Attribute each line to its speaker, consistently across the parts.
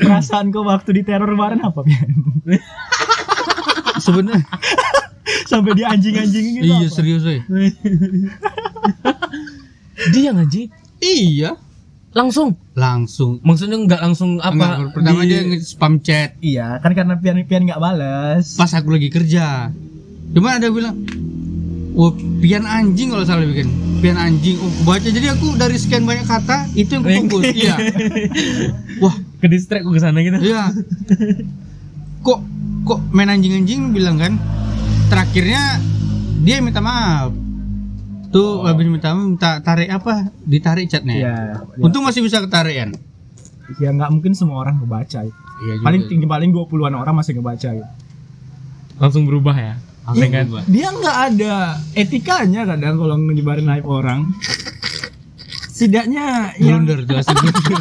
Speaker 1: perasaanku waktu diteror kemarin apa Pian?
Speaker 2: Sebenarnya
Speaker 1: sampai di anjing-anjingin gitu
Speaker 2: iya
Speaker 1: apa?
Speaker 2: serius weh.
Speaker 3: Dia ngaji
Speaker 2: Iya,
Speaker 3: langsung.
Speaker 2: langsung.
Speaker 3: Maksudnya nggak langsung apa?
Speaker 2: Enggak, pertama
Speaker 3: di-
Speaker 2: dia spam chat
Speaker 1: iya kan karena Pian Pian nggak balas
Speaker 2: pas aku lagi kerja. Cuma ada bilang, "Wah, pian anjing kalau salah bikin. Pian anjing." Oh, aku baca jadi aku dari sekian banyak kata itu yang kutunggu. iya. Wah,
Speaker 3: ke distract ke sana gitu.
Speaker 2: Iya. Kok kok main anjing-anjing bilang kan? Terakhirnya dia minta maaf. Tuh
Speaker 3: Oh.
Speaker 2: habis minta maaf minta tarik apa? Ditarik catnya.
Speaker 1: iya iya.
Speaker 2: Untung masih bisa ketarian.
Speaker 1: ya nggak mungkin semua orang ngebaca itu
Speaker 2: Iya
Speaker 1: paling tinggi paling 20-an orang masih ngebaca gitu
Speaker 3: Langsung berubah ya.
Speaker 2: dengan
Speaker 1: dia nggak ada etikanya kadang kalau nyebarin aib orang setidaknya yang
Speaker 2: blunder tuh asli blunder.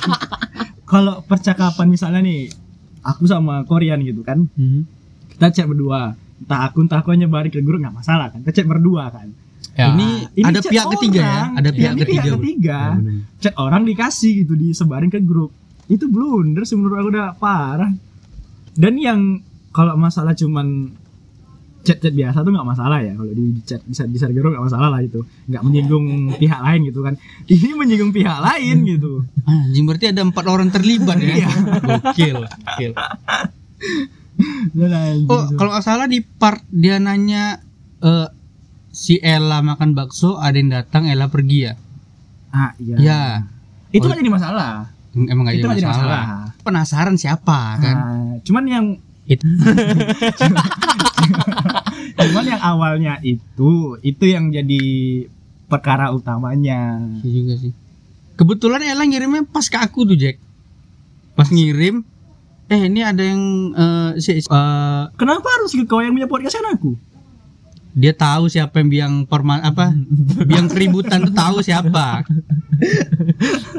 Speaker 1: kalau percakapan misalnya nih aku sama Korean gitu kan
Speaker 2: Hmm.
Speaker 1: kita chat berdua entah aku entah aku nyebarin ke grup nggak masalah kan kita chat berdua kan
Speaker 3: Ya.
Speaker 2: Ini, ada
Speaker 1: chat
Speaker 2: pihak ketiga ya,
Speaker 1: orang.
Speaker 2: ada
Speaker 1: Iya,
Speaker 2: pihak
Speaker 1: ini
Speaker 2: ketiga.
Speaker 1: pihak
Speaker 2: bro.
Speaker 1: ketiga.
Speaker 2: Ya, bener.
Speaker 1: chat orang dikasih gitu disebarin ke grup itu blunder sih menurut aku udah parah dan yang kalau masalah cuman chat-chat biasa tuh nggak masalah ya kalau di chat bisa di server grup nggak masalah lah itu nggak menyinggung pihak lain gitu kan ini menyinggung pihak lain gitu
Speaker 2: Anjing berarti ada empat orang terlibat ya. Gokil, gokil.
Speaker 1: Dan anjing
Speaker 2: Oh,
Speaker 1: tuh.
Speaker 2: kalau nggak salah di part dia nanya eh, si Ella makan bakso, ada yang datang, Ella pergi ya.
Speaker 1: ah, iya.
Speaker 2: Ya,
Speaker 1: itu nggak jadi masalah
Speaker 2: Iya. emang nggak
Speaker 1: itu
Speaker 2: jadi
Speaker 1: nggak jadi
Speaker 2: masalah.
Speaker 1: masalah
Speaker 2: Penasaran siapa kan?
Speaker 1: Ah, cuman yang
Speaker 2: It-
Speaker 1: cuman yang awalnya itu itu yang jadi perkara utamanya
Speaker 2: Iya juga sih. Kebetulan Ella ngirimnya pas ke aku tuh Jack. Pas ngirim, eh ini ada yang eh, si, eh,
Speaker 1: Kenapa harus ke kau yang punya podcast kan aku?
Speaker 2: dia tahu siapa yang biang perma apa biang keributan tuh tahu siapa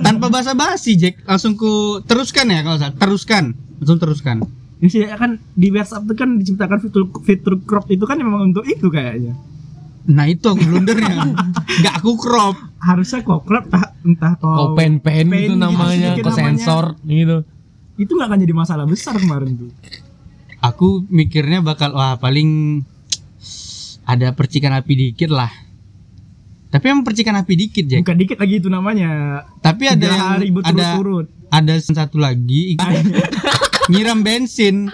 Speaker 2: tanpa basa-basi Jack langsung ku teruskan ya kalau salah teruskan langsung teruskan
Speaker 1: Jadi kan di WhatsApp itu kan diciptakan fitur fitur crop itu kan memang untuk itu kayaknya.
Speaker 2: nah itu aku blundernya nggak aku crop
Speaker 1: Harusnya kok crop entah, entah kau
Speaker 3: Oh, pen-pen
Speaker 1: pen
Speaker 3: itu
Speaker 1: gitu,
Speaker 3: namanya,
Speaker 1: sedikit
Speaker 3: ke
Speaker 1: namanya.
Speaker 3: sensor gitu.
Speaker 1: itu nggak akan jadi masalah besar kemarin tuh.
Speaker 2: aku mikirnya bakal wah paling ada percikan api dikit lah tapi emang percikan api dikit Jack
Speaker 1: Bukan dikit lagi itu namanya.
Speaker 2: Ya. tapi ada
Speaker 1: Tiga
Speaker 2: yang
Speaker 1: hari
Speaker 2: ada
Speaker 1: berturut-turut.
Speaker 2: ada satu lagi nyiram bensin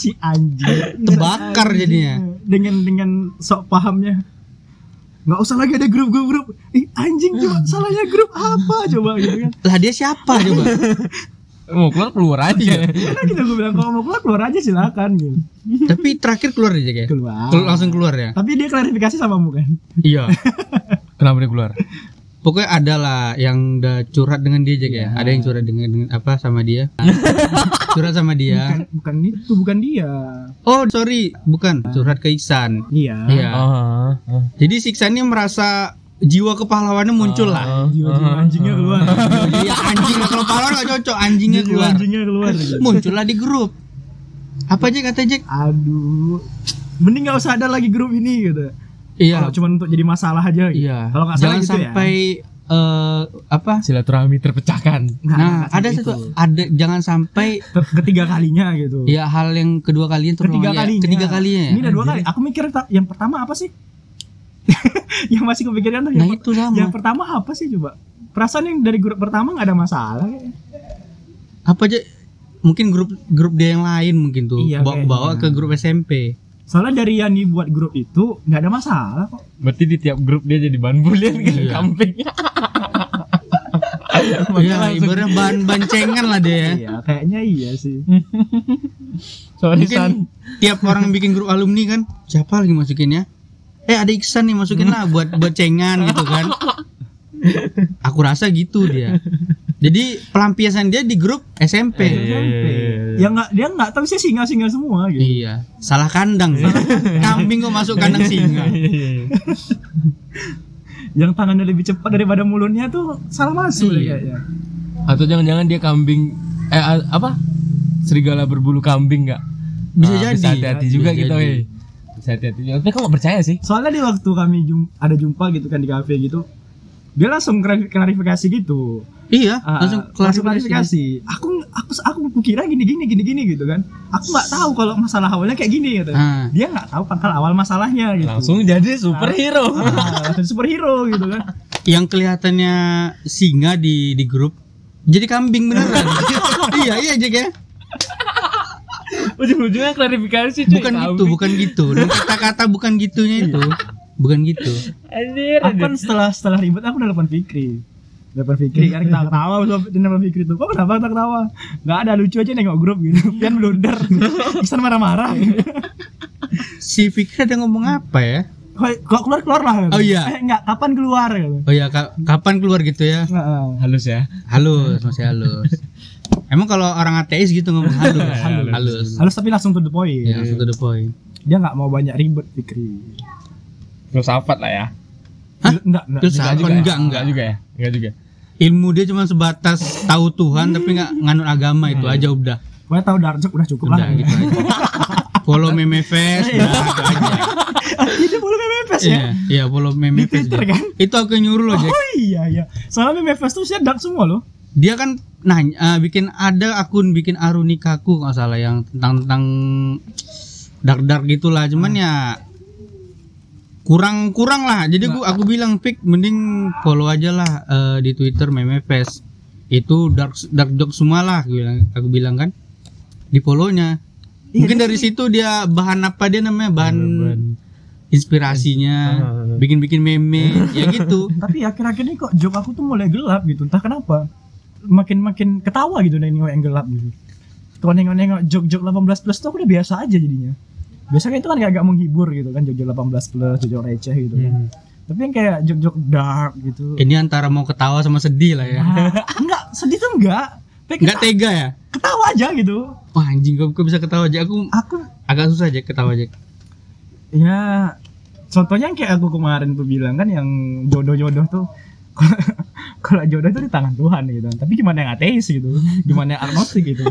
Speaker 1: si anjing
Speaker 2: Terbakar jadinya.
Speaker 1: Dengan dengan sok pahamnya. Nggak usah lagi ada grup-grup. Ih, anjing coba salahnya grup apa coba gitu kan.
Speaker 2: lah dia siapa coba
Speaker 3: Mau keluar keluar
Speaker 2: Iya.
Speaker 3: aja.
Speaker 1: Karena kita gue bilang kalau mau keluar keluar aja silakan gitu.
Speaker 2: tapi terakhir keluar aja Jack ya
Speaker 1: Keluar.
Speaker 2: Kel- langsung keluar ya
Speaker 1: Tapi dia klarifikasi sama mu kan.
Speaker 2: iya
Speaker 3: Kenapa dia keluar?
Speaker 2: pokoknya ada lah yang udah curhat dengan dia Jack
Speaker 1: Iya.
Speaker 2: ya ada yang curhat dengan, dengan apa sama dia curhat sama
Speaker 1: bukan
Speaker 2: dia
Speaker 1: Kan, bukan itu bukan dia
Speaker 2: oh sorry bukan curhat ke Iksan
Speaker 1: iya
Speaker 2: iya
Speaker 3: Ah, ah,
Speaker 2: Jadi siksaannya merasa jiwa kepahlawannya muncul lah.
Speaker 3: ah,
Speaker 1: jiwa jiwa
Speaker 3: ah.
Speaker 1: anjingnya keluar
Speaker 2: Iya anjing lah. kalau pahlawan gak cocok anjingnya
Speaker 1: jiwa
Speaker 2: keluar.
Speaker 1: anjingnya keluar gitu.
Speaker 2: Muncul lah di grup. Apa aja kata Jack?
Speaker 1: aduh mending nggak usah ada lagi grup ini gitu
Speaker 2: Iya.
Speaker 1: kalau cuma untuk jadi masalah aja gitu.
Speaker 2: Iya.
Speaker 1: kalau nggak salah
Speaker 2: Jangan
Speaker 1: gitu
Speaker 2: sampai
Speaker 1: ya
Speaker 2: eh, apa?
Speaker 3: Silaturahmi terpecahkan.
Speaker 1: Nggak,
Speaker 2: nah,
Speaker 1: nggak
Speaker 2: ada
Speaker 1: sampai gitu.
Speaker 2: satu
Speaker 1: itu.
Speaker 2: ada jangan sampai
Speaker 1: Ke- ketiga kalinya gitu
Speaker 2: ya hal yang kedua kalian
Speaker 1: ketiga
Speaker 2: terulang ya.
Speaker 1: kalinya
Speaker 2: Ketiga kalinya. ya.
Speaker 1: ini udah dua kali aku mikir ta- yang pertama apa sih yang masih kepikiran tuh
Speaker 2: Nah,
Speaker 1: yang, per-
Speaker 2: itu sama.
Speaker 1: yang pertama apa sih coba perasaan yang dari grup pertama nggak ada masalah kayaknya.
Speaker 2: Apa aja mungkin grup grup dia yang lain mungkin tuh
Speaker 1: Iya,
Speaker 2: bawa,
Speaker 1: kayaknya.
Speaker 2: bawa ke grup SMP.
Speaker 1: soalnya dari yang dibuat grup itu nggak ada masalah kok
Speaker 3: Berarti di tiap grup dia jadi bahan bulian gitu
Speaker 2: Iya.
Speaker 3: kamping.
Speaker 2: Iya, ibaratnya bahan bancengan lah dia ya.
Speaker 1: iya kayaknya iya sih
Speaker 3: Sorry San.
Speaker 2: mungkin tiap orang bikin grup alumni kan siapa lagi masukinnya eh ada Iksan nih masukin lah buat buat cengan gitu kan aku rasa gitu dia jadi pelampiasan dia di grup SMP
Speaker 3: Iya, iya, iya, iya.
Speaker 1: Ya nggak dia nggak tahu sih singa singa semua gitu.
Speaker 2: iya salah kandang
Speaker 1: Iya.
Speaker 2: kambing kok masuk kandang singa
Speaker 3: Iya, iya, iya.
Speaker 1: Yang tangannya lebih cepat daripada mulutnya tuh salah masuk deh
Speaker 2: Iya.
Speaker 1: kayaknya.
Speaker 3: Atau jangan-jangan dia kambing eh a- apa? Serigala berbulu kambing nggak?
Speaker 2: Bisa
Speaker 3: Ah,
Speaker 2: jadi.
Speaker 3: Bisa hati-hati
Speaker 2: Bisa
Speaker 3: juga gitu,
Speaker 2: jadi.
Speaker 3: weh. Bisa hati-hati juga. Tapi kok nggak percaya sih?
Speaker 1: Soalnya di waktu kami jum- ada jumpa gitu kan di kafe gitu, dia langsung klari- klarifikasi gitu
Speaker 2: Iya,
Speaker 1: Ah,
Speaker 2: langsung klarifikasi.
Speaker 1: aku aku aku kira gini gini gini gini gitu kan aku nggak tahu kalau masalah awalnya kayak gini gitu
Speaker 2: Ah.
Speaker 1: dia nggak tahu pangkal awal masalahnya gitu
Speaker 3: Langsung jadi superhero.
Speaker 1: Ah, langsung superhero gitu kan
Speaker 2: Yang kelihatannya singa di di grup jadi kambing beneran. iya, iya Jack ya.
Speaker 3: Ujung-ujungnya klarifikasi cuy.
Speaker 2: Bukan gitu, bukan gitu. Dan Kata-kata bukan gitunya itu. Bukan gitu.
Speaker 3: Anjir.
Speaker 1: aku kan setelah setelah ribut aku nelfon Fikri nelfon Fikri
Speaker 2: Iya.
Speaker 1: kan ketawa ketawa nelfon Fikri tuh kok kenapa ketawa ketawa nggak ada lucu aja nengok grup gitu pian blunder pesan marah-marah
Speaker 2: Si Fikri ada ngomong apa ya?
Speaker 1: Kok kok keluar keluar lah
Speaker 2: Oh, iya.
Speaker 1: eh, nggak kapan keluar gitu.
Speaker 2: Oh ya, ka- kapan keluar gitu ya?
Speaker 1: Heeh.
Speaker 3: Halus ya.
Speaker 2: Halus, masih halus. Emang kalau orang ateis gitu ngomong halus, halus. halus.
Speaker 1: halus tapi langsung to the point
Speaker 2: Ya, langsung to the point.
Speaker 1: dia nggak mau banyak ribet Fikri
Speaker 3: Filsafat lah ya.
Speaker 2: Hah?
Speaker 1: Nggak, nggak.
Speaker 2: Terus
Speaker 3: Nggak
Speaker 2: enggak,
Speaker 3: ya?
Speaker 2: enggak, enggak.
Speaker 3: juga ya. Enggak juga.
Speaker 2: Ilmu dia cuma sebatas tahu Tuhan tapi nggak nganut agama itu aja udah.
Speaker 1: Gue tahu Darjuk udah cukup
Speaker 2: Udah
Speaker 1: lah.
Speaker 2: gitu aja. Follow meme fest, udah, gitu aja.
Speaker 1: Itu mulu MMFS ya.
Speaker 2: Iya, iya follow
Speaker 1: Di
Speaker 2: meme fest.
Speaker 1: Twitter
Speaker 2: dia.
Speaker 1: kan?
Speaker 2: Itu aku yang nyuruh loh, Jack.
Speaker 1: Oh iya iya. Soalnya MMFS tuh sih dark semua loh.
Speaker 2: Dia kan nanya eh, bikin ada akun bikin Arunikaku nggak salah yang tentang tentang dark dark gitulah cuman
Speaker 1: Ah.
Speaker 2: ya kurang kurang lah jadi gua aku bilang pik mending follow aja lah eh, di Twitter meme fest itu dark dark joke semua lah aku bilang, aku bilang kan di follownya
Speaker 1: Iya,
Speaker 2: mungkin
Speaker 1: dia
Speaker 2: dari situ dia bahan apa dia namanya bahan inspirasinya
Speaker 1: Ah.
Speaker 2: bikin bikin meme ya gitu
Speaker 1: Tapi akhir-akhir ini kok job aku tuh mulai gelap gitu. Entah kenapa. Makin-makin ketawa gitu nih nengok yang gelap gitu. Kalau nengok-nengok jog-jog 18 plus tuh aku udah biasa aja jadinya. Biasanya itu kan agak menghibur gitu kan jog-jog 18 plus, jog-jog receh gitu kan.
Speaker 2: Hmm.
Speaker 1: Tapi yang kayak jog-jog dark gitu.
Speaker 2: ini antara mau ketawa sama sedih lah ya
Speaker 1: Ah, enggak, sedih tuh enggak. Kayak
Speaker 2: nggak
Speaker 1: kita-
Speaker 2: tega ya
Speaker 1: ketawa aja gitu.
Speaker 2: wah anjing kok kok bisa ketawa aja aku
Speaker 1: Aku
Speaker 2: agak susah aja ketawa aja
Speaker 1: ya contohnya yang kayak aku kemarin tuh bilang kan yang jodoh-jodoh tuh kalau jodoh itu di tangan Tuhan gitu tapi gimana yang ateis gitu gimana yang agnostik gitu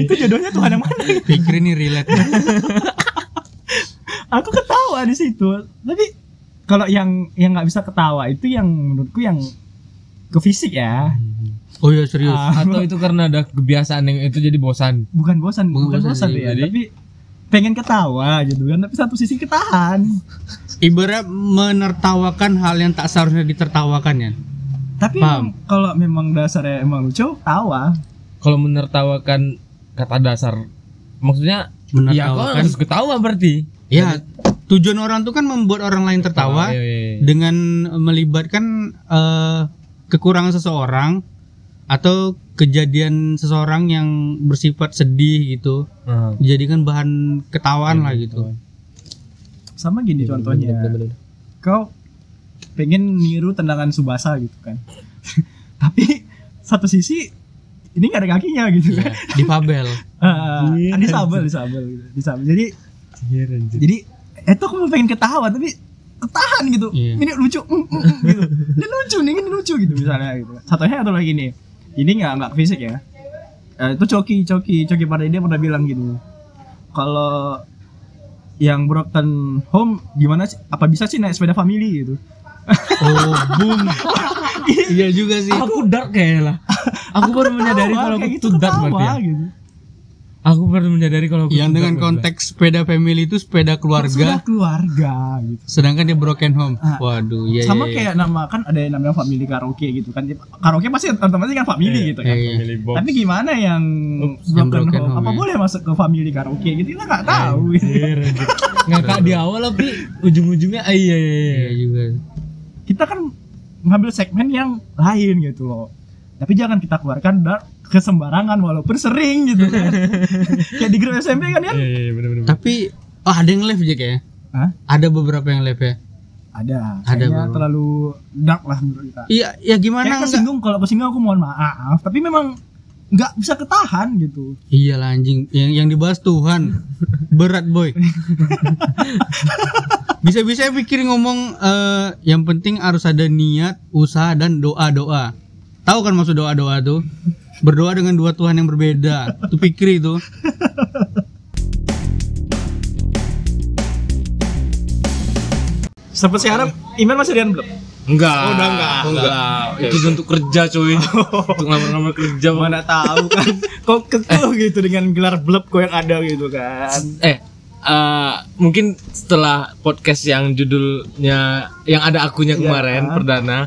Speaker 1: itu jodohnya Tuhan yang mana
Speaker 2: Fikri ini relate nih.
Speaker 1: aku ketawa di situ tapi kalau yang yang nggak bisa ketawa itu yang menurutku yang ke fisik ya
Speaker 2: oh ya serius
Speaker 1: Ah,
Speaker 3: Atau itu karena ada kebiasaan yang itu jadi bosan.
Speaker 1: bukan bosan
Speaker 2: Bukan
Speaker 1: bukan,
Speaker 2: bosan
Speaker 1: bosan
Speaker 2: sih,
Speaker 1: ya
Speaker 3: jadi-
Speaker 1: tapi pengen ketawa gitu kan tapi satu sisi ketahan
Speaker 2: ibarat menertawakan hal yang tak seharusnya ditertawakan ya
Speaker 1: tapi
Speaker 2: Paham.
Speaker 1: emang kalau memang dasarnya emang lucu tawa
Speaker 3: Kalau menertawakan kata dasar maksudnya ya kok
Speaker 2: menertawakan
Speaker 3: harus ketawa berarti.
Speaker 2: ya tujuan orang tuh kan membuat orang lain tertawa
Speaker 3: Iya, iya, iya.
Speaker 2: dengan melibatkan eh, kekurangan seseorang atau kejadian seseorang yang bersifat sedih gitu
Speaker 3: Ah.
Speaker 2: dijadikan bahan ketawaan lah gitu
Speaker 1: sama gini
Speaker 2: Iya,
Speaker 1: contohnya kau pengen niru tendangan Subasa gitu kan tapi satu sisi ini nggak ada kakinya gitu kan
Speaker 2: di Fabel
Speaker 1: Ah, kan
Speaker 3: Iya,
Speaker 1: disabel disabel gitu. disabel jadi jadi eh, itu aku mau pengen ketawa tapi ketahan gitu
Speaker 2: Iya.
Speaker 1: ini lucu mm, mm, mm, gitu ini lucu nih ini lucu gitu misalnya gitu satunya atau lagi nih ini nggak nggak fisik ya Eh, itu coki coki coki pada dia pernah bilang gini kalau yang broken home gimana sih apa bisa sih naik sepeda family gitu
Speaker 2: oh boom iya juga sih
Speaker 3: Aku dark kayaknya lah. Aku
Speaker 1: ketawa,
Speaker 3: baru menyadari kalau
Speaker 1: kayak
Speaker 3: aku
Speaker 1: gitu
Speaker 3: tuh dark
Speaker 1: ketawa,
Speaker 3: berarti ya.
Speaker 1: gitu.
Speaker 3: Aku baru menyadari kalau aku
Speaker 2: yang
Speaker 3: tuh
Speaker 2: dengan
Speaker 3: dark berarti.
Speaker 2: konteks sepeda family itu sepeda
Speaker 1: sudah
Speaker 2: keluarga
Speaker 1: keluarga gitu
Speaker 2: sedangkan dia broken home
Speaker 1: Ah.
Speaker 2: waduh iya
Speaker 1: sama
Speaker 2: iya,
Speaker 1: kayak nama kan ada yang namanya family karaoke gitu kan karaoke pasti otomatis kan family
Speaker 3: Iya,
Speaker 1: gitu
Speaker 2: iya,
Speaker 1: kan
Speaker 2: iya.
Speaker 3: Family box.
Speaker 1: tapi gimana yang
Speaker 2: yang
Speaker 1: broken,
Speaker 2: broken
Speaker 1: home,
Speaker 2: home,
Speaker 1: apa
Speaker 2: ya.
Speaker 1: boleh masuk ke family karaoke gitu kita nggak tahu
Speaker 3: Anjir, anjir. Ngakak di awal tapi ujung-ujungnya ah, iya iya iya.
Speaker 2: Iya juga
Speaker 1: kita kan ngambil segmen yang lain gitu loh tapi jangan kita keluarkan dar kesembarangan walaupun sering gitu kan kayak di grup SMP kan ya
Speaker 3: Iya iya benar benar.
Speaker 2: tapi oh, ada yang live Jack ya
Speaker 1: Hah?
Speaker 2: ada beberapa yang live ya
Speaker 1: ada
Speaker 2: Ada,
Speaker 1: kayaknya
Speaker 2: Bro.
Speaker 1: terlalu dark lah menurut kita
Speaker 2: iya ya gimana
Speaker 1: kayak
Speaker 2: enggak
Speaker 1: kesinggung kalau kesinggung aku mohon maaf tapi memang nggak bisa ketahan gitu
Speaker 2: Iya lah anjing, yang yang dibahas Tuhan. Berat boy. Bisa-bisa pikir ngomong eh, yang penting harus ada niat, usaha dan doa-doa. Tahu kan maksud doa-doa tuh? Berdoa dengan dua Tuhan yang berbeda. Itu pikir itu.
Speaker 1: Sampai sekarang Iman masih Rian belum?
Speaker 3: Enggak.
Speaker 1: Oh, udah enggak.
Speaker 3: Oh, enggak.
Speaker 1: Oke,
Speaker 3: Itu untuk kerja, cuy. untuk ngelamar-nlamar kerja.
Speaker 1: mana tahu kan kok kekeh gitu dengan gelar bleb kok yang ada gitu kan
Speaker 3: Eh, eh, mungkin setelah podcast yang judulnya yang ada akunya
Speaker 1: Iya.
Speaker 3: kemarin perdana,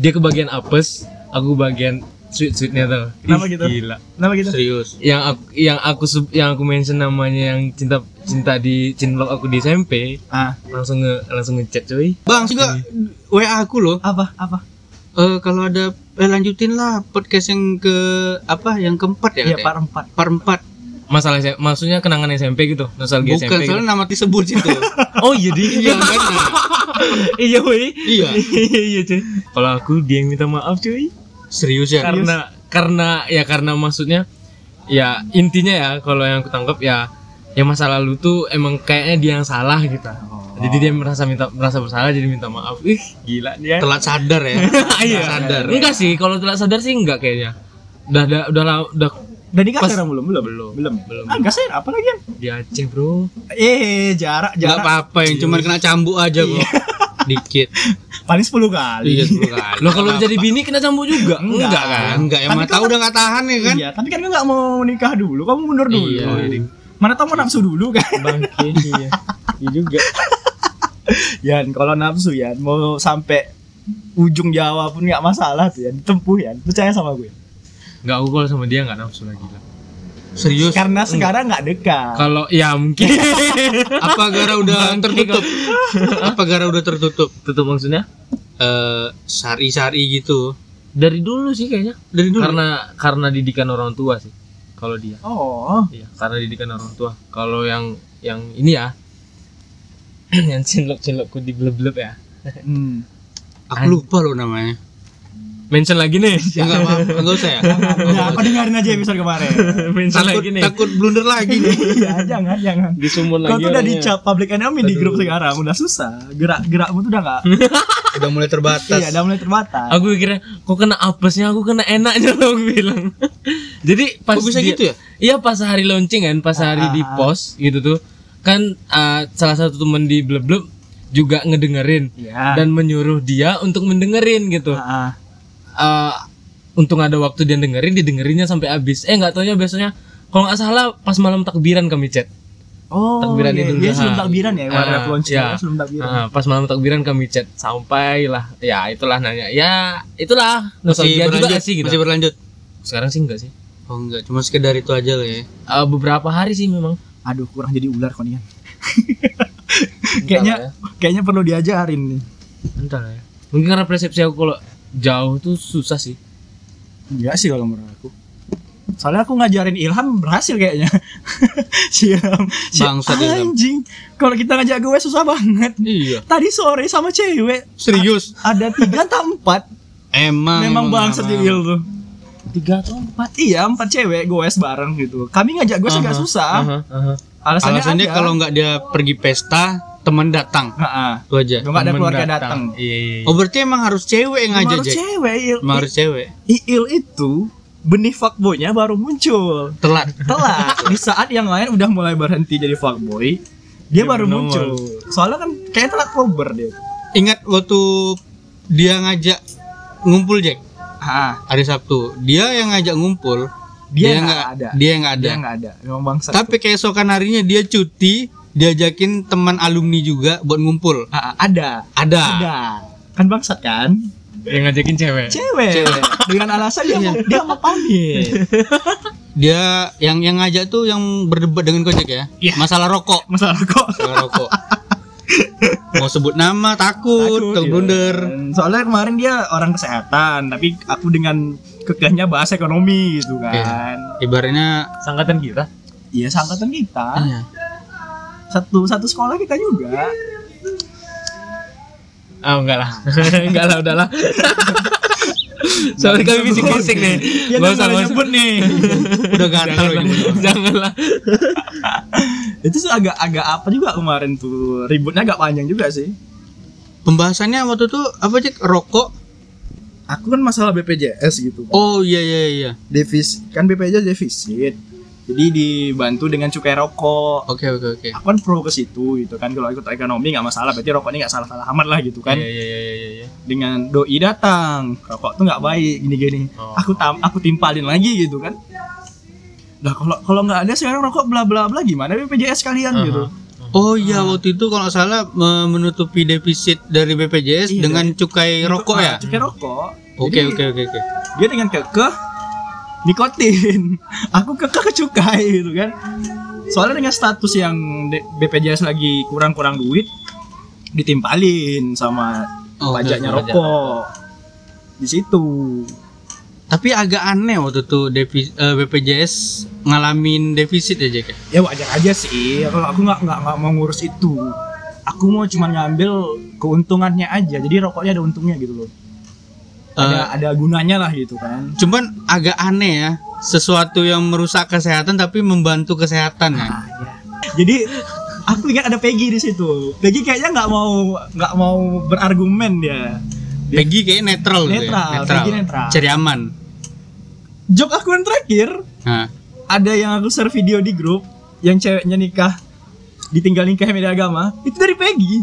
Speaker 3: dia kebagian apes, aku bagian sweet-sweetnya tuh.
Speaker 1: Kenapa
Speaker 3: Ih,
Speaker 1: gitu?
Speaker 3: Gila.
Speaker 1: kenapa gitu
Speaker 2: Serius.
Speaker 3: Yang aku yang aku sub- yang aku mention namanya yang cinta cinta di cinlok aku di SMP,
Speaker 1: ah
Speaker 3: langsung nge langsung ngechat cuy.
Speaker 2: Bang, juga WA Iya. aku loh.
Speaker 1: apa apa
Speaker 2: Eh kalau ada eh, lanjutin lah podcast yang ke apa yang keempat ya
Speaker 1: ya
Speaker 2: katanya.
Speaker 1: par empat
Speaker 2: Par empat.
Speaker 3: Masalah S- maksudnya kenangan SMP gitu, nostalgia
Speaker 2: Bukan,
Speaker 3: SMP. gitu.
Speaker 2: soalnya nama disebut situ.
Speaker 3: Oh iya di
Speaker 2: iya, kan? Nah,
Speaker 3: iya woi.
Speaker 2: Iya.
Speaker 3: iya cuy. Kalau aku dia yang minta maaf cuy.
Speaker 2: Serius ya?
Speaker 3: karena karena ya karena maksudnya ya intinya ya kalau yang aku tangkap ya ya masa lalu tuh emang kayaknya dia yang salah gitu jadi dia merasa minta merasa bersalah jadi minta maaf ih gila dia
Speaker 2: Telat sadar ya.
Speaker 1: Iya.
Speaker 2: Telat sadar.
Speaker 3: enggak sih kalau telat sadar sih enggak kayaknya udah udah udah la- udah
Speaker 1: udah nikah
Speaker 3: Pas-
Speaker 1: sekarang belum belum
Speaker 3: Belum.
Speaker 1: belum
Speaker 3: Belum.
Speaker 1: ah nggak sih apa lagi ya
Speaker 3: di Aceh bro
Speaker 1: eh jarak
Speaker 2: Enggak
Speaker 3: Ya,
Speaker 1: jarak
Speaker 2: apa-apa yang cuman kena cambuk aja
Speaker 1: Iya.
Speaker 2: kok. Dikit.
Speaker 1: paling 10 kali
Speaker 2: Iya, sepuluh kali.
Speaker 3: lo kalau jadi bini kena cambuk juga
Speaker 1: Enggak.
Speaker 3: enggak kan
Speaker 2: Ah, enggak yang
Speaker 1: Iya. Tapi
Speaker 2: mata
Speaker 1: kalau-
Speaker 2: udah nggak tahan ya kan? Oh,
Speaker 1: iya Oh, tapi kan nggak mau nikah dulu kamu mundur dulu
Speaker 3: Iya.
Speaker 1: Jadi, mana tau mau nafsu dulu kan
Speaker 3: bangke iya Iya juga
Speaker 1: Yan kalau nafsu Yan mau sampai ujung Jawa pun nggak masalah tuh Yan tempuh Yan percaya sama gue
Speaker 3: enggak aku kalau sama dia enggak nafsu lagi lah
Speaker 2: Serius.
Speaker 1: karena
Speaker 3: mm.
Speaker 1: sekarang nggak dekat
Speaker 3: kalau ya mungkin
Speaker 2: Apa gara udah tertutup? Apa gara udah tertutup?
Speaker 3: tutup maksudnya
Speaker 2: Eh sari-sari gitu.
Speaker 3: dari dulu sih kayaknya
Speaker 2: Dari dulu.
Speaker 3: karena karena didikan orang tua sih kalau dia
Speaker 1: oh
Speaker 3: iya karena didikan orang tua kalau yang yang ini ya yang cinlok cinlokku di bleb bleb ya
Speaker 1: hmm.
Speaker 2: Aku lupa loh namanya.
Speaker 3: mention lagi nih
Speaker 2: Enggak apa-apa, enggak usah ya.
Speaker 1: Ya, aku dengerin aja episode kemarin.
Speaker 3: mention
Speaker 2: Takut,
Speaker 3: lagi nih
Speaker 2: takut blunder lagi nih.
Speaker 1: Iya, jangan, jangan.
Speaker 3: di sumur
Speaker 1: Kau
Speaker 3: lagi
Speaker 1: tuh udah
Speaker 3: orangnya.
Speaker 1: dicap public enemy di grup sekarang, udah susah. Gerak-gerakmu tuh udah nggak,
Speaker 2: Udah mulai terbatas.
Speaker 1: iya, udah mulai terbatas.
Speaker 3: aku kira kok kena apesnya aku kena enaknya loh aku bilang jadi pas
Speaker 2: Kok bisa
Speaker 3: dia-
Speaker 2: gitu ya? Ah,
Speaker 3: iya pas hari launching kan pas hari di post gitu tuh kan ah, salah satu temen di bleb bleb juga ngedengerin
Speaker 1: Iya.
Speaker 3: dan menyuruh dia untuk mendengerin gitu
Speaker 1: Ah, ah.
Speaker 3: eh untung ada waktu dia dengerin didengerinnya sampai habis eh nggak taunya biasanya kalau nggak salah pas malam takbiran kami chat
Speaker 1: Oh,
Speaker 3: Takbiran
Speaker 1: iya,
Speaker 3: Idul
Speaker 1: dia
Speaker 3: Adha.
Speaker 1: sebelum takbiran ya, kemarin
Speaker 3: Ah,
Speaker 1: aku launching,
Speaker 3: iya.
Speaker 1: ya, sebelum takbiran.
Speaker 3: Ah, pas malam takbiran kami chat sampailah ya itulah nanya ya itulah
Speaker 2: Masih
Speaker 3: nostalgia juga
Speaker 2: berlanjut,
Speaker 3: nggak sih gitu
Speaker 2: masih berlanjut.
Speaker 3: sekarang sih enggak sih
Speaker 2: Oh enggak, cuma sekedar itu aja lah ya.
Speaker 3: Eh, beberapa hari sih memang
Speaker 1: Aduh, kurang jadi ular kau nih. ya. kayaknya,
Speaker 3: lah ya.
Speaker 1: kayaknya perlu diajarin nih.
Speaker 3: entah lah ya mungkin karena persepsi aku kalau jauh tuh susah sih
Speaker 1: Enggak sih kalau menurut aku. Soalnya aku ngajarin Ilham berhasil kayaknya. si Ilham, si
Speaker 2: Bangsat Ilham.
Speaker 1: anjing. Kalau kita ngajak gue susah banget.
Speaker 2: Iya.
Speaker 1: Tadi sore sama cewek
Speaker 2: Serius?
Speaker 1: ada tiga atau empat
Speaker 2: Emang
Speaker 1: memang bangsat di
Speaker 2: bangsat
Speaker 1: Wil tuh tiga atau empat iya empat cewek goes bareng gitu kami ngajak gue agak susah
Speaker 3: Aha, aha.
Speaker 1: alasannya,
Speaker 2: Alasannya
Speaker 1: ada.
Speaker 2: kalau nggak dia pergi pesta, teman datang.
Speaker 1: Heeh.
Speaker 2: Itu aja.
Speaker 1: Gua nggak ada
Speaker 3: Temen
Speaker 1: keluarga datang
Speaker 3: iya iya iya.
Speaker 2: Oh berarti emang harus cewek yang
Speaker 1: baru
Speaker 2: ngajak Jack?
Speaker 1: cewek il
Speaker 2: Emang harus cewek.
Speaker 1: iil itu benih fuckboynya baru muncul
Speaker 2: Telat.
Speaker 1: telat di saat yang lain udah mulai berhenti jadi fuckboy dia
Speaker 3: Dia
Speaker 1: baru
Speaker 3: belum
Speaker 1: muncul soalnya kan kayak telat kober dia
Speaker 2: Ingat waktu dia ngajak ngumpul Jack
Speaker 1: ah
Speaker 2: hari Sabtu. Dia yang ngajak ngumpul.
Speaker 1: Dia nggak ada.
Speaker 2: Dia nggak ada.
Speaker 1: dia Iya, nggak ada memang bangsa
Speaker 2: Tapi keesokan harinya dia cuti, diajakin teman alumni juga buat ngumpul.
Speaker 1: ah, ada
Speaker 2: Ada.
Speaker 1: ada kan bangsat kan
Speaker 3: yang ngajakin cewek
Speaker 1: cewek Iya. dengan alasan dia mau dia mau pamit
Speaker 2: Dia yang yang ngajak tuh yang berdebat dengan Kojek ya.
Speaker 1: Iya.
Speaker 2: Masalah rokok.
Speaker 1: masalah kok
Speaker 2: Masalah rokok. Mau sebut nama takut, takut
Speaker 1: iya.
Speaker 2: blunder.
Speaker 1: Soalnya kemarin dia orang kesehatan, tapi aku dengan kekehnya bahas ekonomi gitu kan.
Speaker 2: Ibaratnya
Speaker 3: sangkatan kita
Speaker 1: Iya, seangkatan kita.
Speaker 2: Iya.
Speaker 1: Satu satu sekolah kita juga.
Speaker 3: Ah enggak lah, enggak lah udahlah. Soalnya Iya, kami bisik-bisik nih.
Speaker 1: Dia tuh
Speaker 3: Gak usah,
Speaker 1: mulai
Speaker 3: gak usah.
Speaker 1: nyebut nih.
Speaker 2: udah gatal
Speaker 3: Janganlah.
Speaker 2: ini.
Speaker 3: Janganlah.
Speaker 1: Itu sih agak agak apa juga kemarin tuh. Ributnya agak panjang juga sih.
Speaker 2: Pembahasannya waktu itu apa Jack? Rokok.
Speaker 1: Aku kan masalah BPJS gitu.
Speaker 2: Oh iya iya iya.
Speaker 1: Devis kan BPJS defisit. Jadi dibantu dengan cukai rokok.
Speaker 2: Oke oke oke.
Speaker 1: Aku kan pro ke situ gitu kan. Kalau ikut ekonomi nggak masalah, berarti rokoknya nggak salah-salah amat lah gitu kan.
Speaker 3: Iya iya iya iya iya.
Speaker 1: Dengan doi datang, rokok tuh nggak baik gini-gini.
Speaker 3: Oh.
Speaker 1: Aku tam aku timpalin lagi gitu kan. Lah kalau kalau nggak ada sekarang rokok bla bla bla gimana BPJS kalian gitu.
Speaker 2: Oh iya
Speaker 1: Ah.
Speaker 2: waktu itu kalau nggak salah me- menutupi defisit dari BPJS
Speaker 1: Iya,
Speaker 2: dengan cukai rokok ya.
Speaker 1: Ah, Cukai rokok.
Speaker 2: Oke
Speaker 1: Jadi,
Speaker 2: oke oke oke.
Speaker 1: Dia dengan kekeh nikotin. Aku kekeh ke cukai gitu kan. Soalnya dengan status yang D- BPJS lagi kurang-kurang duit ditimpalin sama
Speaker 2: Oh,
Speaker 1: pajaknya
Speaker 2: pajak.
Speaker 1: rokok. Di situ.
Speaker 2: Tapi agak aneh waktu itu defi- eh, BPJS ngalamin defisit ya Jack.
Speaker 1: Ya
Speaker 2: ya?
Speaker 1: wajar aja sih. Kalau aku nggak nggak nggak mau ngurus itu. Aku mau cuman ngambil keuntungannya aja. Jadi rokoknya ada untungnya gitu loh.
Speaker 2: Eh.
Speaker 1: Ada ada gunanya lah gitu kan.
Speaker 2: Cuman agak aneh ya sesuatu yang merusak kesehatan tapi membantu kesehatan ya.
Speaker 1: Ah, ya. Jadi aku ingat ada Peggy di situ. Peggy kayaknya nggak mau nggak mau berargumen dia.
Speaker 2: Peggy kayak netral, gitu ya.
Speaker 1: Netral, Peggy netral.
Speaker 2: Cari aman.
Speaker 1: Job aku yang terakhir
Speaker 2: Nah,
Speaker 1: ada yang aku share video di grup yang ceweknya nikah ditinggal nikah media agama itu dari Peggy.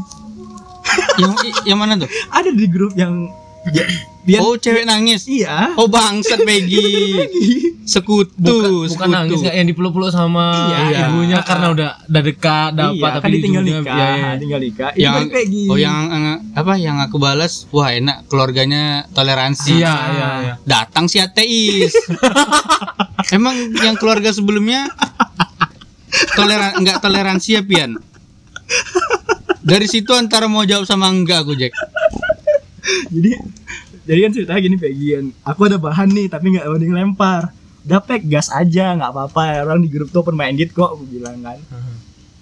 Speaker 2: yang i- yang mana tuh?
Speaker 1: Ada di grup yang dia, dia
Speaker 2: oh, cewek nangis.
Speaker 1: iya.
Speaker 2: Oh, bangsat Peggy.
Speaker 1: Peggy.
Speaker 2: Sekutu,
Speaker 3: Bukan, bukan
Speaker 2: sekutu.
Speaker 3: nangis nggak yang dipeluk-peluk sama
Speaker 1: Iya.
Speaker 3: ibunya karena udah udah dekat dapat
Speaker 1: iya,
Speaker 3: tapi
Speaker 1: kan ditinggal
Speaker 3: ujungnya-
Speaker 1: nikah,
Speaker 3: iya, iya.
Speaker 1: tinggal nikah. Itu
Speaker 2: yang
Speaker 1: dari kan Peggy.
Speaker 2: oh yang eh, apa yang aku balas wah enak keluarganya toleransi
Speaker 3: Iya, iya, iya.
Speaker 2: datang si ateis emang yang keluarga sebelumnya toleran nggak toleransi ya pian dari situ antara mau jawab sama enggak aku Jack
Speaker 1: jadi jadi kan ceritanya gini Pegian aku ada bahan nih tapi nggak ada yang lempar udah pek gas aja nggak apa-apa orang di grup tuh open minded kok aku bilang kan
Speaker 2: Hmm.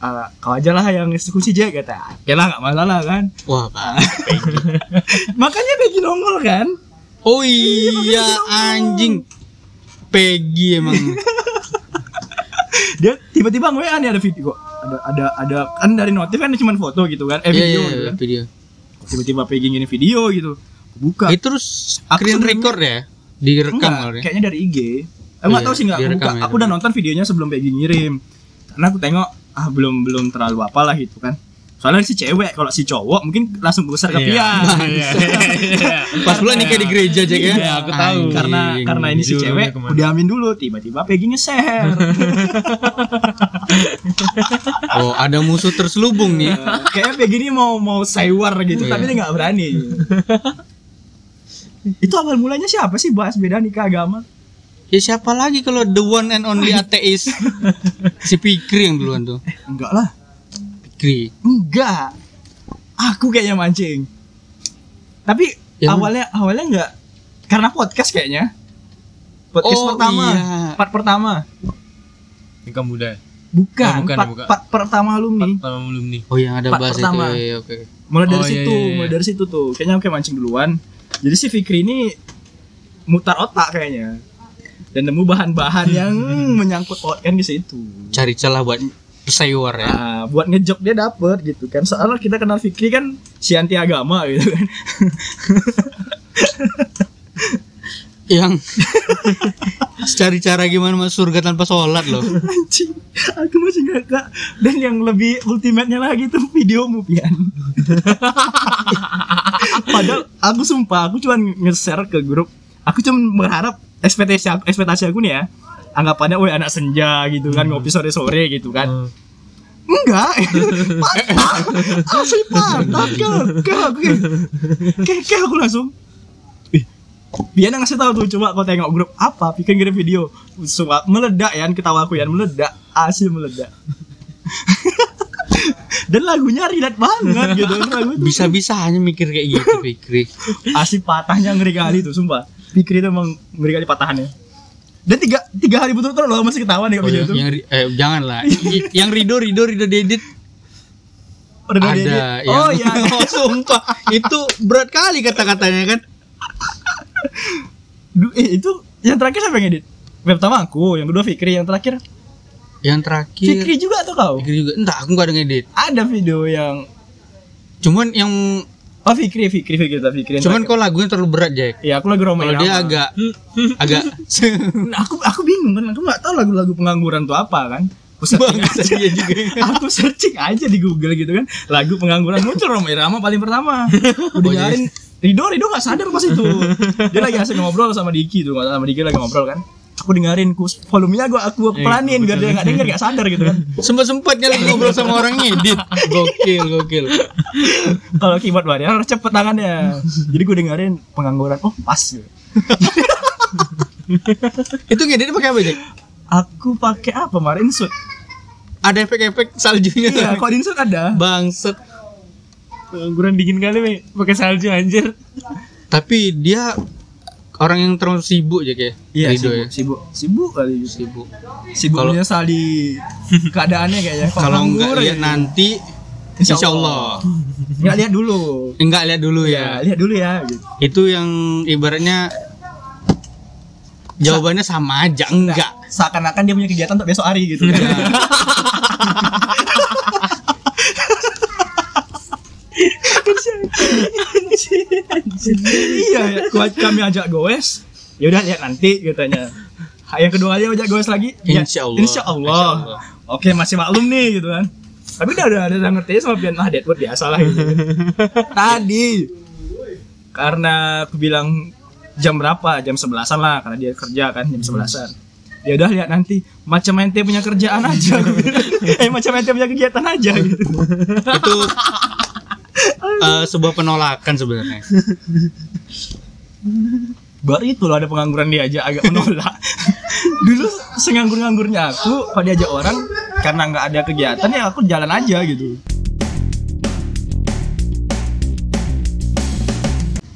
Speaker 1: "Ah, kau aja lah yang eksekusi Jack kata "Ah, oke lah nggak masalah kan
Speaker 2: wah Pak.
Speaker 1: makanya Peggy nongol kan
Speaker 2: oh iya anjing Peggy emang
Speaker 1: dia tiba-tiba gue aneh ada video kok ada ada ada kan dari notif kan cuma foto gitu kan eh
Speaker 2: iya
Speaker 1: video
Speaker 2: iya
Speaker 1: gitu
Speaker 2: iya,
Speaker 1: kan.
Speaker 2: video
Speaker 1: tiba-tiba Peggy gini video gitu Aku buka
Speaker 2: itu terus
Speaker 1: Aku
Speaker 2: screen
Speaker 1: sebelumnya-
Speaker 2: record ya direkam
Speaker 1: Enggak,
Speaker 2: kali ya?
Speaker 1: kayaknya dari IG. Aku nggak
Speaker 2: iya,
Speaker 1: tahu sih nggak aku
Speaker 2: direkam
Speaker 1: buka.
Speaker 2: ya,
Speaker 1: Aku udah nonton videonya sebelum Peggy ngirim. Karena aku tengok ah belum belum terlalu apalah gitu kan. Soalnya si cewek kalau si cowok mungkin langsung besar ke pian.
Speaker 3: Iya, iya, iya.
Speaker 2: pas pula nikah di gereja Jack ya
Speaker 3: Iya, aku tahu.
Speaker 2: Anjing.
Speaker 1: Karena karena ini si
Speaker 3: Judulnya
Speaker 1: cewek
Speaker 3: kemana?
Speaker 1: udah amin dulu tiba-tiba Peggy nge-share.
Speaker 2: Oh, ada musuh terselubung nih.
Speaker 1: Eh, Kayaknya Peggy ini mau mau sewar gitu
Speaker 2: Iya.
Speaker 1: tapi dia nggak berani. Itu awal mulanya siapa sih bahas beda nikah agama?
Speaker 2: Ya siapa lagi kalau the one and only ateis? si Pikri yang duluan tuh.
Speaker 1: Enggak lah.
Speaker 2: Pikri.
Speaker 1: Enggak. Aku kayaknya mancing. Tapi
Speaker 2: Ya,
Speaker 1: awalnya awalnya enggak karena podcast kayaknya. Podcast
Speaker 2: Oh,
Speaker 1: pertama,
Speaker 2: iya.
Speaker 1: part pertama.
Speaker 3: Nikah muda. ya?
Speaker 1: Bukan,
Speaker 3: Oh, bukan,
Speaker 1: part,
Speaker 3: bukan.
Speaker 1: part pertama alumni.
Speaker 3: Pertama belum nih.
Speaker 2: Oh, yang ada
Speaker 1: Pak
Speaker 2: bahas itu.
Speaker 1: pertama.
Speaker 2: Iya, iya, oke.
Speaker 1: Mulai dari
Speaker 3: Oh, iya,
Speaker 1: situ,
Speaker 3: iya, iya.
Speaker 1: mulai dari situ tuh. Kayaknya aku kayak mancing duluan. Jadi si Fikri ini mutar otak kayaknya. Dan nemu bahan-bahan yang hmm, menyangkut podcast di situ.
Speaker 2: Cari celah buat pesewar ya.
Speaker 1: Ah, buat ngejok dia dapet gitu kan soalnya kita kenal Fikri kan si anti agama gitu kan
Speaker 2: Yang cari cara gimana masuk surga tanpa sholat loh.
Speaker 1: anjing aku masih nggak Kak. dan yang lebih ultimate-nya lagi tuh videomu Pian padahal aku sumpah aku cuma nge-share ke grup aku cuma berharap ekspektasi aku, ekspektasi aku nih ya anggapannya woi anak senja gitu kan ngopi sore-sore gitu kan
Speaker 3: Hmm.
Speaker 1: enggak Ah, patah asli patah kau kau aku kayak kayak kayak aku langsung ih Biar ngasih tahu tuh coba kau tengok grup apa pikir ngirim video Sumpah, meledak ya ketawa aku ya meledak asli meledak dan lagunya relate banget gitu lagu tuh
Speaker 2: Bisa-bisa hanya mikir kayak gitu Pikri.
Speaker 1: asli patahnya ngeri kali tuh sumpah pikir itu emang ngeri kali patahannya dan tiga tiga hari betul-betul loh masih ketawa nih kok
Speaker 2: Oh,
Speaker 1: video
Speaker 2: yang,
Speaker 1: itu
Speaker 2: yang ri- eh, jangan lah. Y- yang Rido Rido Rido Dedit
Speaker 1: Udah
Speaker 2: ada
Speaker 1: diedit.
Speaker 2: yang
Speaker 1: oh iya ada.
Speaker 2: Oh, sumpah itu berat kali kata-katanya kan
Speaker 1: Du- eh, itu yang terakhir siapa yang edit? Yang pertama aku, yang kedua Fikri, yang terakhir
Speaker 2: yang terakhir
Speaker 1: Fikri juga atau kau?
Speaker 2: Pikri juga entah aku gak ada ngedit
Speaker 1: Ada video yang
Speaker 2: cuman yang
Speaker 1: oh Oh Fikri, Fikri, Fikri, kita Fikri.
Speaker 2: Cuman kok lagunya terlalu berat Jack.
Speaker 1: ya aku lagi romain.
Speaker 2: Kalau dia
Speaker 1: apa.
Speaker 2: agak agak
Speaker 1: Nah, aku aku bingung kan, aku nggak tahu lagu-lagu pengangguran tuh apa kan. Aku searching
Speaker 2: Bangsat
Speaker 1: aja.
Speaker 2: dia iya juga.
Speaker 1: aku searching aja di Google gitu kan. Lagu pengangguran muncul Roma Irama paling pertama. Udah
Speaker 2: Oh, iya.
Speaker 1: nyariin Rido, Rido gak sadar pas itu Dia lagi asik ngobrol sama Diki tuh Sama Diki lagi ngobrol kan Aku dengerin, ku, volumenya gua aku
Speaker 2: Iya,
Speaker 1: pelanin Biar dia gak denger, gak sadar gitu kan
Speaker 2: sempat-sempatnya lagi ngobrol sama orang ngedit. Gokil, gokil.
Speaker 1: kalau keyboard warrior harus cepet tangannya jadi gue dengerin pengangguran oh pas
Speaker 2: Itu ngeditnya pakai apa, Jack?
Speaker 1: aku pakai apa kemarin suit
Speaker 2: Ada efek-efek saljunya.
Speaker 1: iya kok di suit ada
Speaker 2: Bangset.
Speaker 3: Pengangguran dingin kali Mi. pakai salju anjir.
Speaker 2: Tapi dia orang yang terlalu sibuk Jack ya. Rido ya.
Speaker 1: Iya, sibuk, sibuk sibuk kali gitu
Speaker 2: Sibuk.
Speaker 1: sibuk
Speaker 2: Kalau-
Speaker 1: menyesali keadaannya kayaknya Kok
Speaker 2: Kalau enggak
Speaker 1: nganggur
Speaker 2: lihat
Speaker 1: ya?
Speaker 2: nanti
Speaker 1: Insya
Speaker 2: Insya Allah
Speaker 1: nggak lihat dulu
Speaker 2: Enggak lihat dulu
Speaker 1: ya
Speaker 2: ya
Speaker 1: lihat dulu ya gitu.
Speaker 2: Itu yang ibaratnya Jawabannya sama aja Enggak Iya.
Speaker 1: seakan-akan dia punya kegiatan untuk besok hari gitu iya ya. Gua- kami ajak goes ya udah lihat nanti katanya Ha, yang kedua aja ajak goes lagi ya,
Speaker 2: Insya Allah.
Speaker 1: insya Allah.
Speaker 2: Insya Allah.
Speaker 1: oke masih maklum nih gitu kan tapi udah udah udah ngerti sama pian ah Deadwood biasa lah gitu. tadi karena aku bilang jam berapa jam sebelasan lah karena dia kerja kan jam sebelasan ya udah lihat nanti macam ente punya kerjaan aja aku bilang. eh macam ente punya kegiatan aja gitu
Speaker 2: itu eh, sebuah penolakan sebenarnya
Speaker 1: baru itu loh ada pengangguran dia aja agak menolak dulu senganggur-nganggurnya aku kalau diajak orang karena nggak ada kegiatan ya aku jalan aja gitu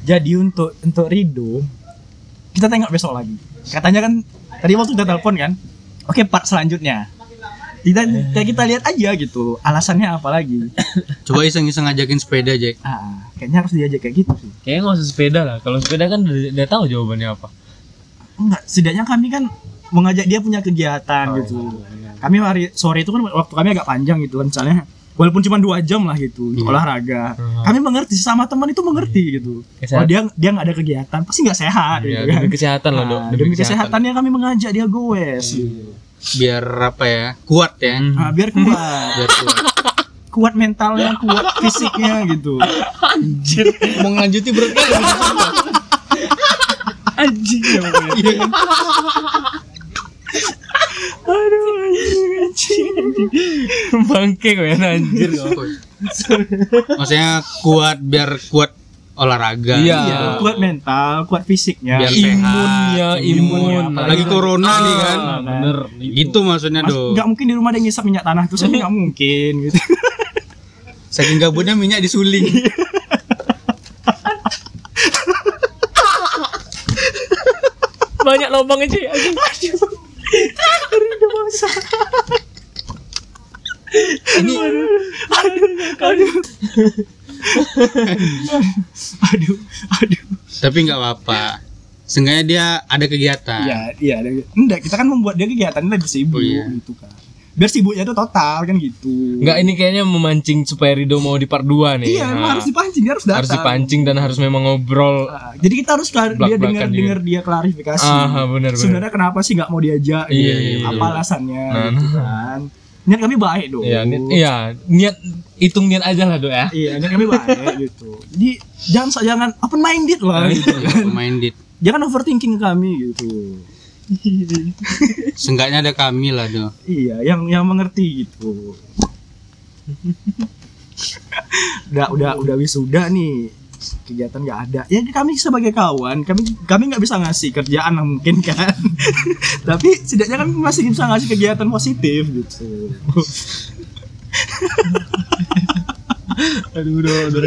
Speaker 1: jadi untuk untuk Rido kita tengok besok lagi katanya kan tadi waktu udah telepon kan oke part selanjutnya kita kita, kita lihat aja gitu alasannya apa lagi
Speaker 2: coba iseng-iseng ngajakin sepeda Jack
Speaker 1: ah kayaknya harus diajak kayak gitu sih
Speaker 3: Kayaknya nggak usah sepeda lah. Kalau sepeda kan udah, udah tahu jawabannya apa.
Speaker 1: enggak setidaknya kami kan mengajak dia punya kegiatan
Speaker 3: Oh,
Speaker 1: gitu
Speaker 3: iya,
Speaker 1: kami hari sore itu kan waktu kami agak panjang gitu kan misalnya walaupun cuma dua jam lah gitu
Speaker 3: Iya.
Speaker 1: untuk olahraga
Speaker 3: Hmm.
Speaker 1: kami mengerti sama teman itu mengerti
Speaker 3: Iya.
Speaker 1: gitu kalau
Speaker 3: Kesehatan.
Speaker 1: dia dia nggak ada kegiatan pasti nggak sehat
Speaker 3: Ya,
Speaker 1: gitu kan
Speaker 3: demi kesehatan Iya. lah, Dok.
Speaker 1: Nah, demi kesehatannya kami mengajak dia goes gitu.
Speaker 2: biar apa ya kuat ya
Speaker 3: Hmm.
Speaker 1: Nah, biar kuat
Speaker 2: biar kuat
Speaker 1: kuat mentalnya kuat fisiknya gitu
Speaker 2: mau ngelanjutin berarti
Speaker 1: anjing ya pokoknya. aduh anjing, anjing
Speaker 3: Bangke kok ya anjir.
Speaker 1: Iya,
Speaker 2: maksudnya kuat biar kuat olahraga
Speaker 3: Iya.
Speaker 1: Iya, kuat mental kuat fisiknya
Speaker 2: biar
Speaker 3: Imun
Speaker 2: sehat
Speaker 3: ya,
Speaker 1: Imun,
Speaker 3: imun.
Speaker 1: apalagi
Speaker 2: lagi corona nih kan
Speaker 3: Ah, bener.
Speaker 2: gitu maksudnya
Speaker 3: iya,
Speaker 1: Mas,
Speaker 2: dong
Speaker 1: nggak mungkin di rumah ada yang ngisap minyak tanah terus kan nggak mungkin gitu.
Speaker 2: saking gabutnya minyak disuling
Speaker 1: Iya.
Speaker 3: Banyak lubang aja. anjing.
Speaker 2: ini
Speaker 1: aduh, aduh.
Speaker 2: tapi nggak apa-apa seenggaknya dia ada
Speaker 3: Ah.
Speaker 2: kegiatan
Speaker 1: Ya, iya. ada- Enggak, kita kan membuat dia kegiatan lebih sibuk
Speaker 2: Oh, iya.
Speaker 1: gitu kan. Biar sibuknya tuh total kan gitu.
Speaker 3: Enggak ini kayaknya memancing supaya Rido mau di part 2 nih.
Speaker 1: Iya,
Speaker 3: Nah,
Speaker 1: emang harus dipancing, dia harus datang.
Speaker 3: harus dipancing dan harus memang ngobrol.
Speaker 1: Ah, Jadi kita harus klar- dia
Speaker 3: Blak-blakan
Speaker 1: dengar
Speaker 3: juga.
Speaker 1: dengar dia klarifikasi.
Speaker 3: Ah, benar, benar.
Speaker 1: Sebenarnya kenapa sih nggak mau diajak? gitu.
Speaker 3: Iya, iya, iya,
Speaker 1: Apa
Speaker 3: benar.
Speaker 1: alasannya?
Speaker 3: Nah,
Speaker 1: gitu
Speaker 3: nah.
Speaker 1: kan. Niat kami baik dong.
Speaker 3: Iya, niat, iya, niat hitung niat aja lah, Dok ya.
Speaker 1: Iya, niat kami baik gitu. Jadi jangan jangan open minded
Speaker 3: Nah,
Speaker 1: lah.
Speaker 3: iya.
Speaker 1: Gitu.
Speaker 2: main dit
Speaker 1: jangan overthinking kami gitu.
Speaker 2: seenggaknya ada kami lah dong
Speaker 1: Iya, yang yang mengerti gitu. udah udah udah wisuda nih kegiatan nggak ada ya kami sebagai kawan kami kami nggak bisa ngasih kerjaan lah mungkin kan tapi setidaknya kan masih bisa ngasih kegiatan positif gitu
Speaker 3: Aduh, udah, udah.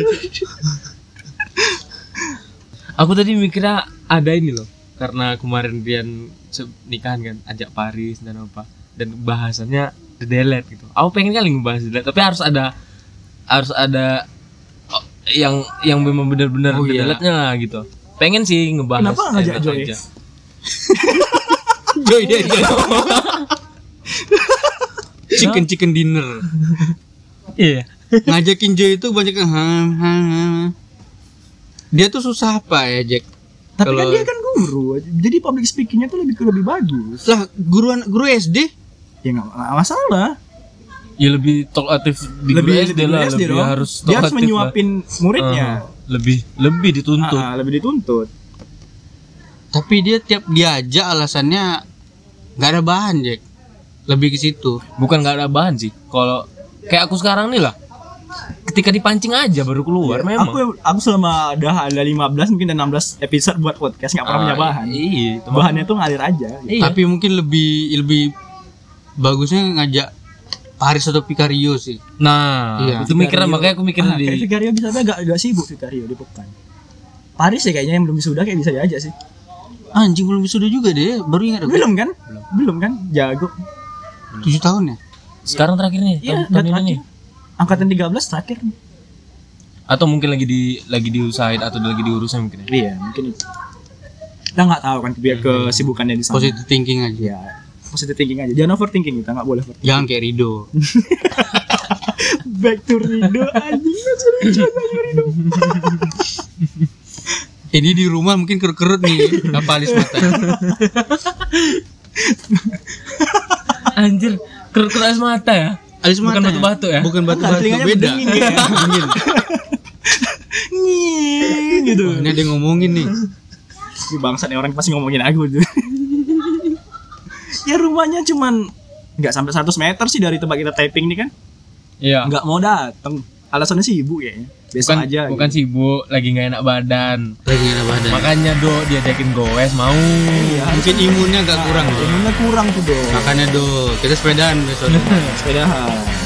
Speaker 3: Aku tadi mikirnya ada ini loh, karena kemarin Rian se- nikahan kan, ajak Paris dan apa, dan bahasannya the delete gitu. Aku pengen kali ngebahas the delete, tapi harus ada harus ada oh, yang yang memang benar-benar
Speaker 2: Oh,
Speaker 3: the
Speaker 2: iya.
Speaker 3: delete-nya lah gitu. Pengen sih ngebahas.
Speaker 1: Kenapa ngajak
Speaker 3: the delete
Speaker 1: Joy?
Speaker 3: aja.
Speaker 2: Joy deh, Joy. chicken chicken dinner.
Speaker 3: Iya.
Speaker 2: Ngajakin Joy itu banyak yang ham ham ham. Dia tuh susah apa ya, Jack?
Speaker 1: Tapi kan
Speaker 3: Kalau-
Speaker 1: dia kan guru, jadi public speakingnya tuh lebih lebih bagus.
Speaker 2: Lah, guruan guru SD?
Speaker 1: Ya nggak nggak masalah.
Speaker 3: ya lebih tolatif di lebih, SD lah,
Speaker 1: SD
Speaker 3: lebih
Speaker 1: dong.
Speaker 3: harus
Speaker 1: dia harus
Speaker 3: tolatif
Speaker 1: menyuapin
Speaker 3: lah.
Speaker 1: muridnya.
Speaker 3: Ah, lebih lebih dituntut.
Speaker 1: Ah, ah, lebih dituntut.
Speaker 2: Tapi dia tiap diajak alasannya nggak ada bahan, Jack. Lebih ke situ.
Speaker 3: Bukan nggak ada bahan sih. Kalau kayak aku sekarang nih lah. Ketika dipancing aja baru keluar memang.
Speaker 1: Aku aku selama dah ada 15 mungkin ada 16 episode buat podcast nggak pernah punya
Speaker 3: Ah,
Speaker 1: bahan.
Speaker 3: Iya, itu mah.
Speaker 1: Bahannya tuh ngalir aja.
Speaker 3: Iya.
Speaker 2: Tapi mungkin lebih lebih bagusnya ngajak Paris atau Picario sih.
Speaker 3: Nah,
Speaker 2: Iya.
Speaker 3: itu mikiran
Speaker 1: Vicario.
Speaker 3: makanya aku mikir
Speaker 1: Ah, kayak
Speaker 3: di
Speaker 1: Vicario bisa tapi agak agak sibuk Vicario di Pekan. Paris ya kayaknya yang belum sudah kayak bisa diajak sih.
Speaker 2: Anjing belum sudah juga deh, baru ingat aku.
Speaker 1: Belum kan? Belum, kan? Jago.
Speaker 2: 7 tahun ya?
Speaker 3: sekarang terakhir nih,
Speaker 1: Iya,
Speaker 3: tahun-
Speaker 1: udah
Speaker 3: tahun ini
Speaker 1: terakhir.
Speaker 3: nih.
Speaker 1: Angkatan 13 terakhir.
Speaker 3: Atau mungkin lagi di lagi diusahain atau lagi diurusin mungkin Hmm. ya.
Speaker 1: Iya, mungkin itu. Kita nggak tahu kan biar kesibukannya di sana.
Speaker 2: Positive thinking aja.
Speaker 1: Ya, positive thinking aja. Jangan overthinking kita nggak boleh overthinking.
Speaker 2: Jangan kayak Rido.
Speaker 1: Back to Rido anjing lucu lucu anjing Rido.
Speaker 2: Ini di rumah mungkin kerut-kerut nih, kapalis mata.
Speaker 3: Anjir, kerut-kerut alis mata ya.
Speaker 2: Alis
Speaker 3: Bukan
Speaker 2: mata.
Speaker 3: batu-batu ya?
Speaker 2: Bukan batu-batu,
Speaker 1: telinganya
Speaker 2: beda.
Speaker 1: berdenging ya.
Speaker 2: Dingin.
Speaker 1: Nying, gitu.
Speaker 2: Wah, Ini ada yang ngomongin nih.
Speaker 1: Ini bangsat nih orang pasti ngomongin aku tuh. ya rumahnya cuman nggak sampai 100 meter sih dari tempat kita taping nih kan.
Speaker 3: Iya.
Speaker 1: Nggak mau dateng. Alasannya sih ibu kayaknya. Besok
Speaker 3: Bukan
Speaker 1: aja. gitu.
Speaker 3: bukan sibuk, lagi nggak enak badan.
Speaker 2: Lagi ada badan.
Speaker 3: Makanya do diajakin goes mau.
Speaker 1: Iya,
Speaker 2: Mungkin
Speaker 3: ya.
Speaker 2: imunnya agak kurang loh.
Speaker 1: Imunnya kurang tuh dong.
Speaker 2: Makanya do, kita sepedaan besok.
Speaker 1: Sepeda.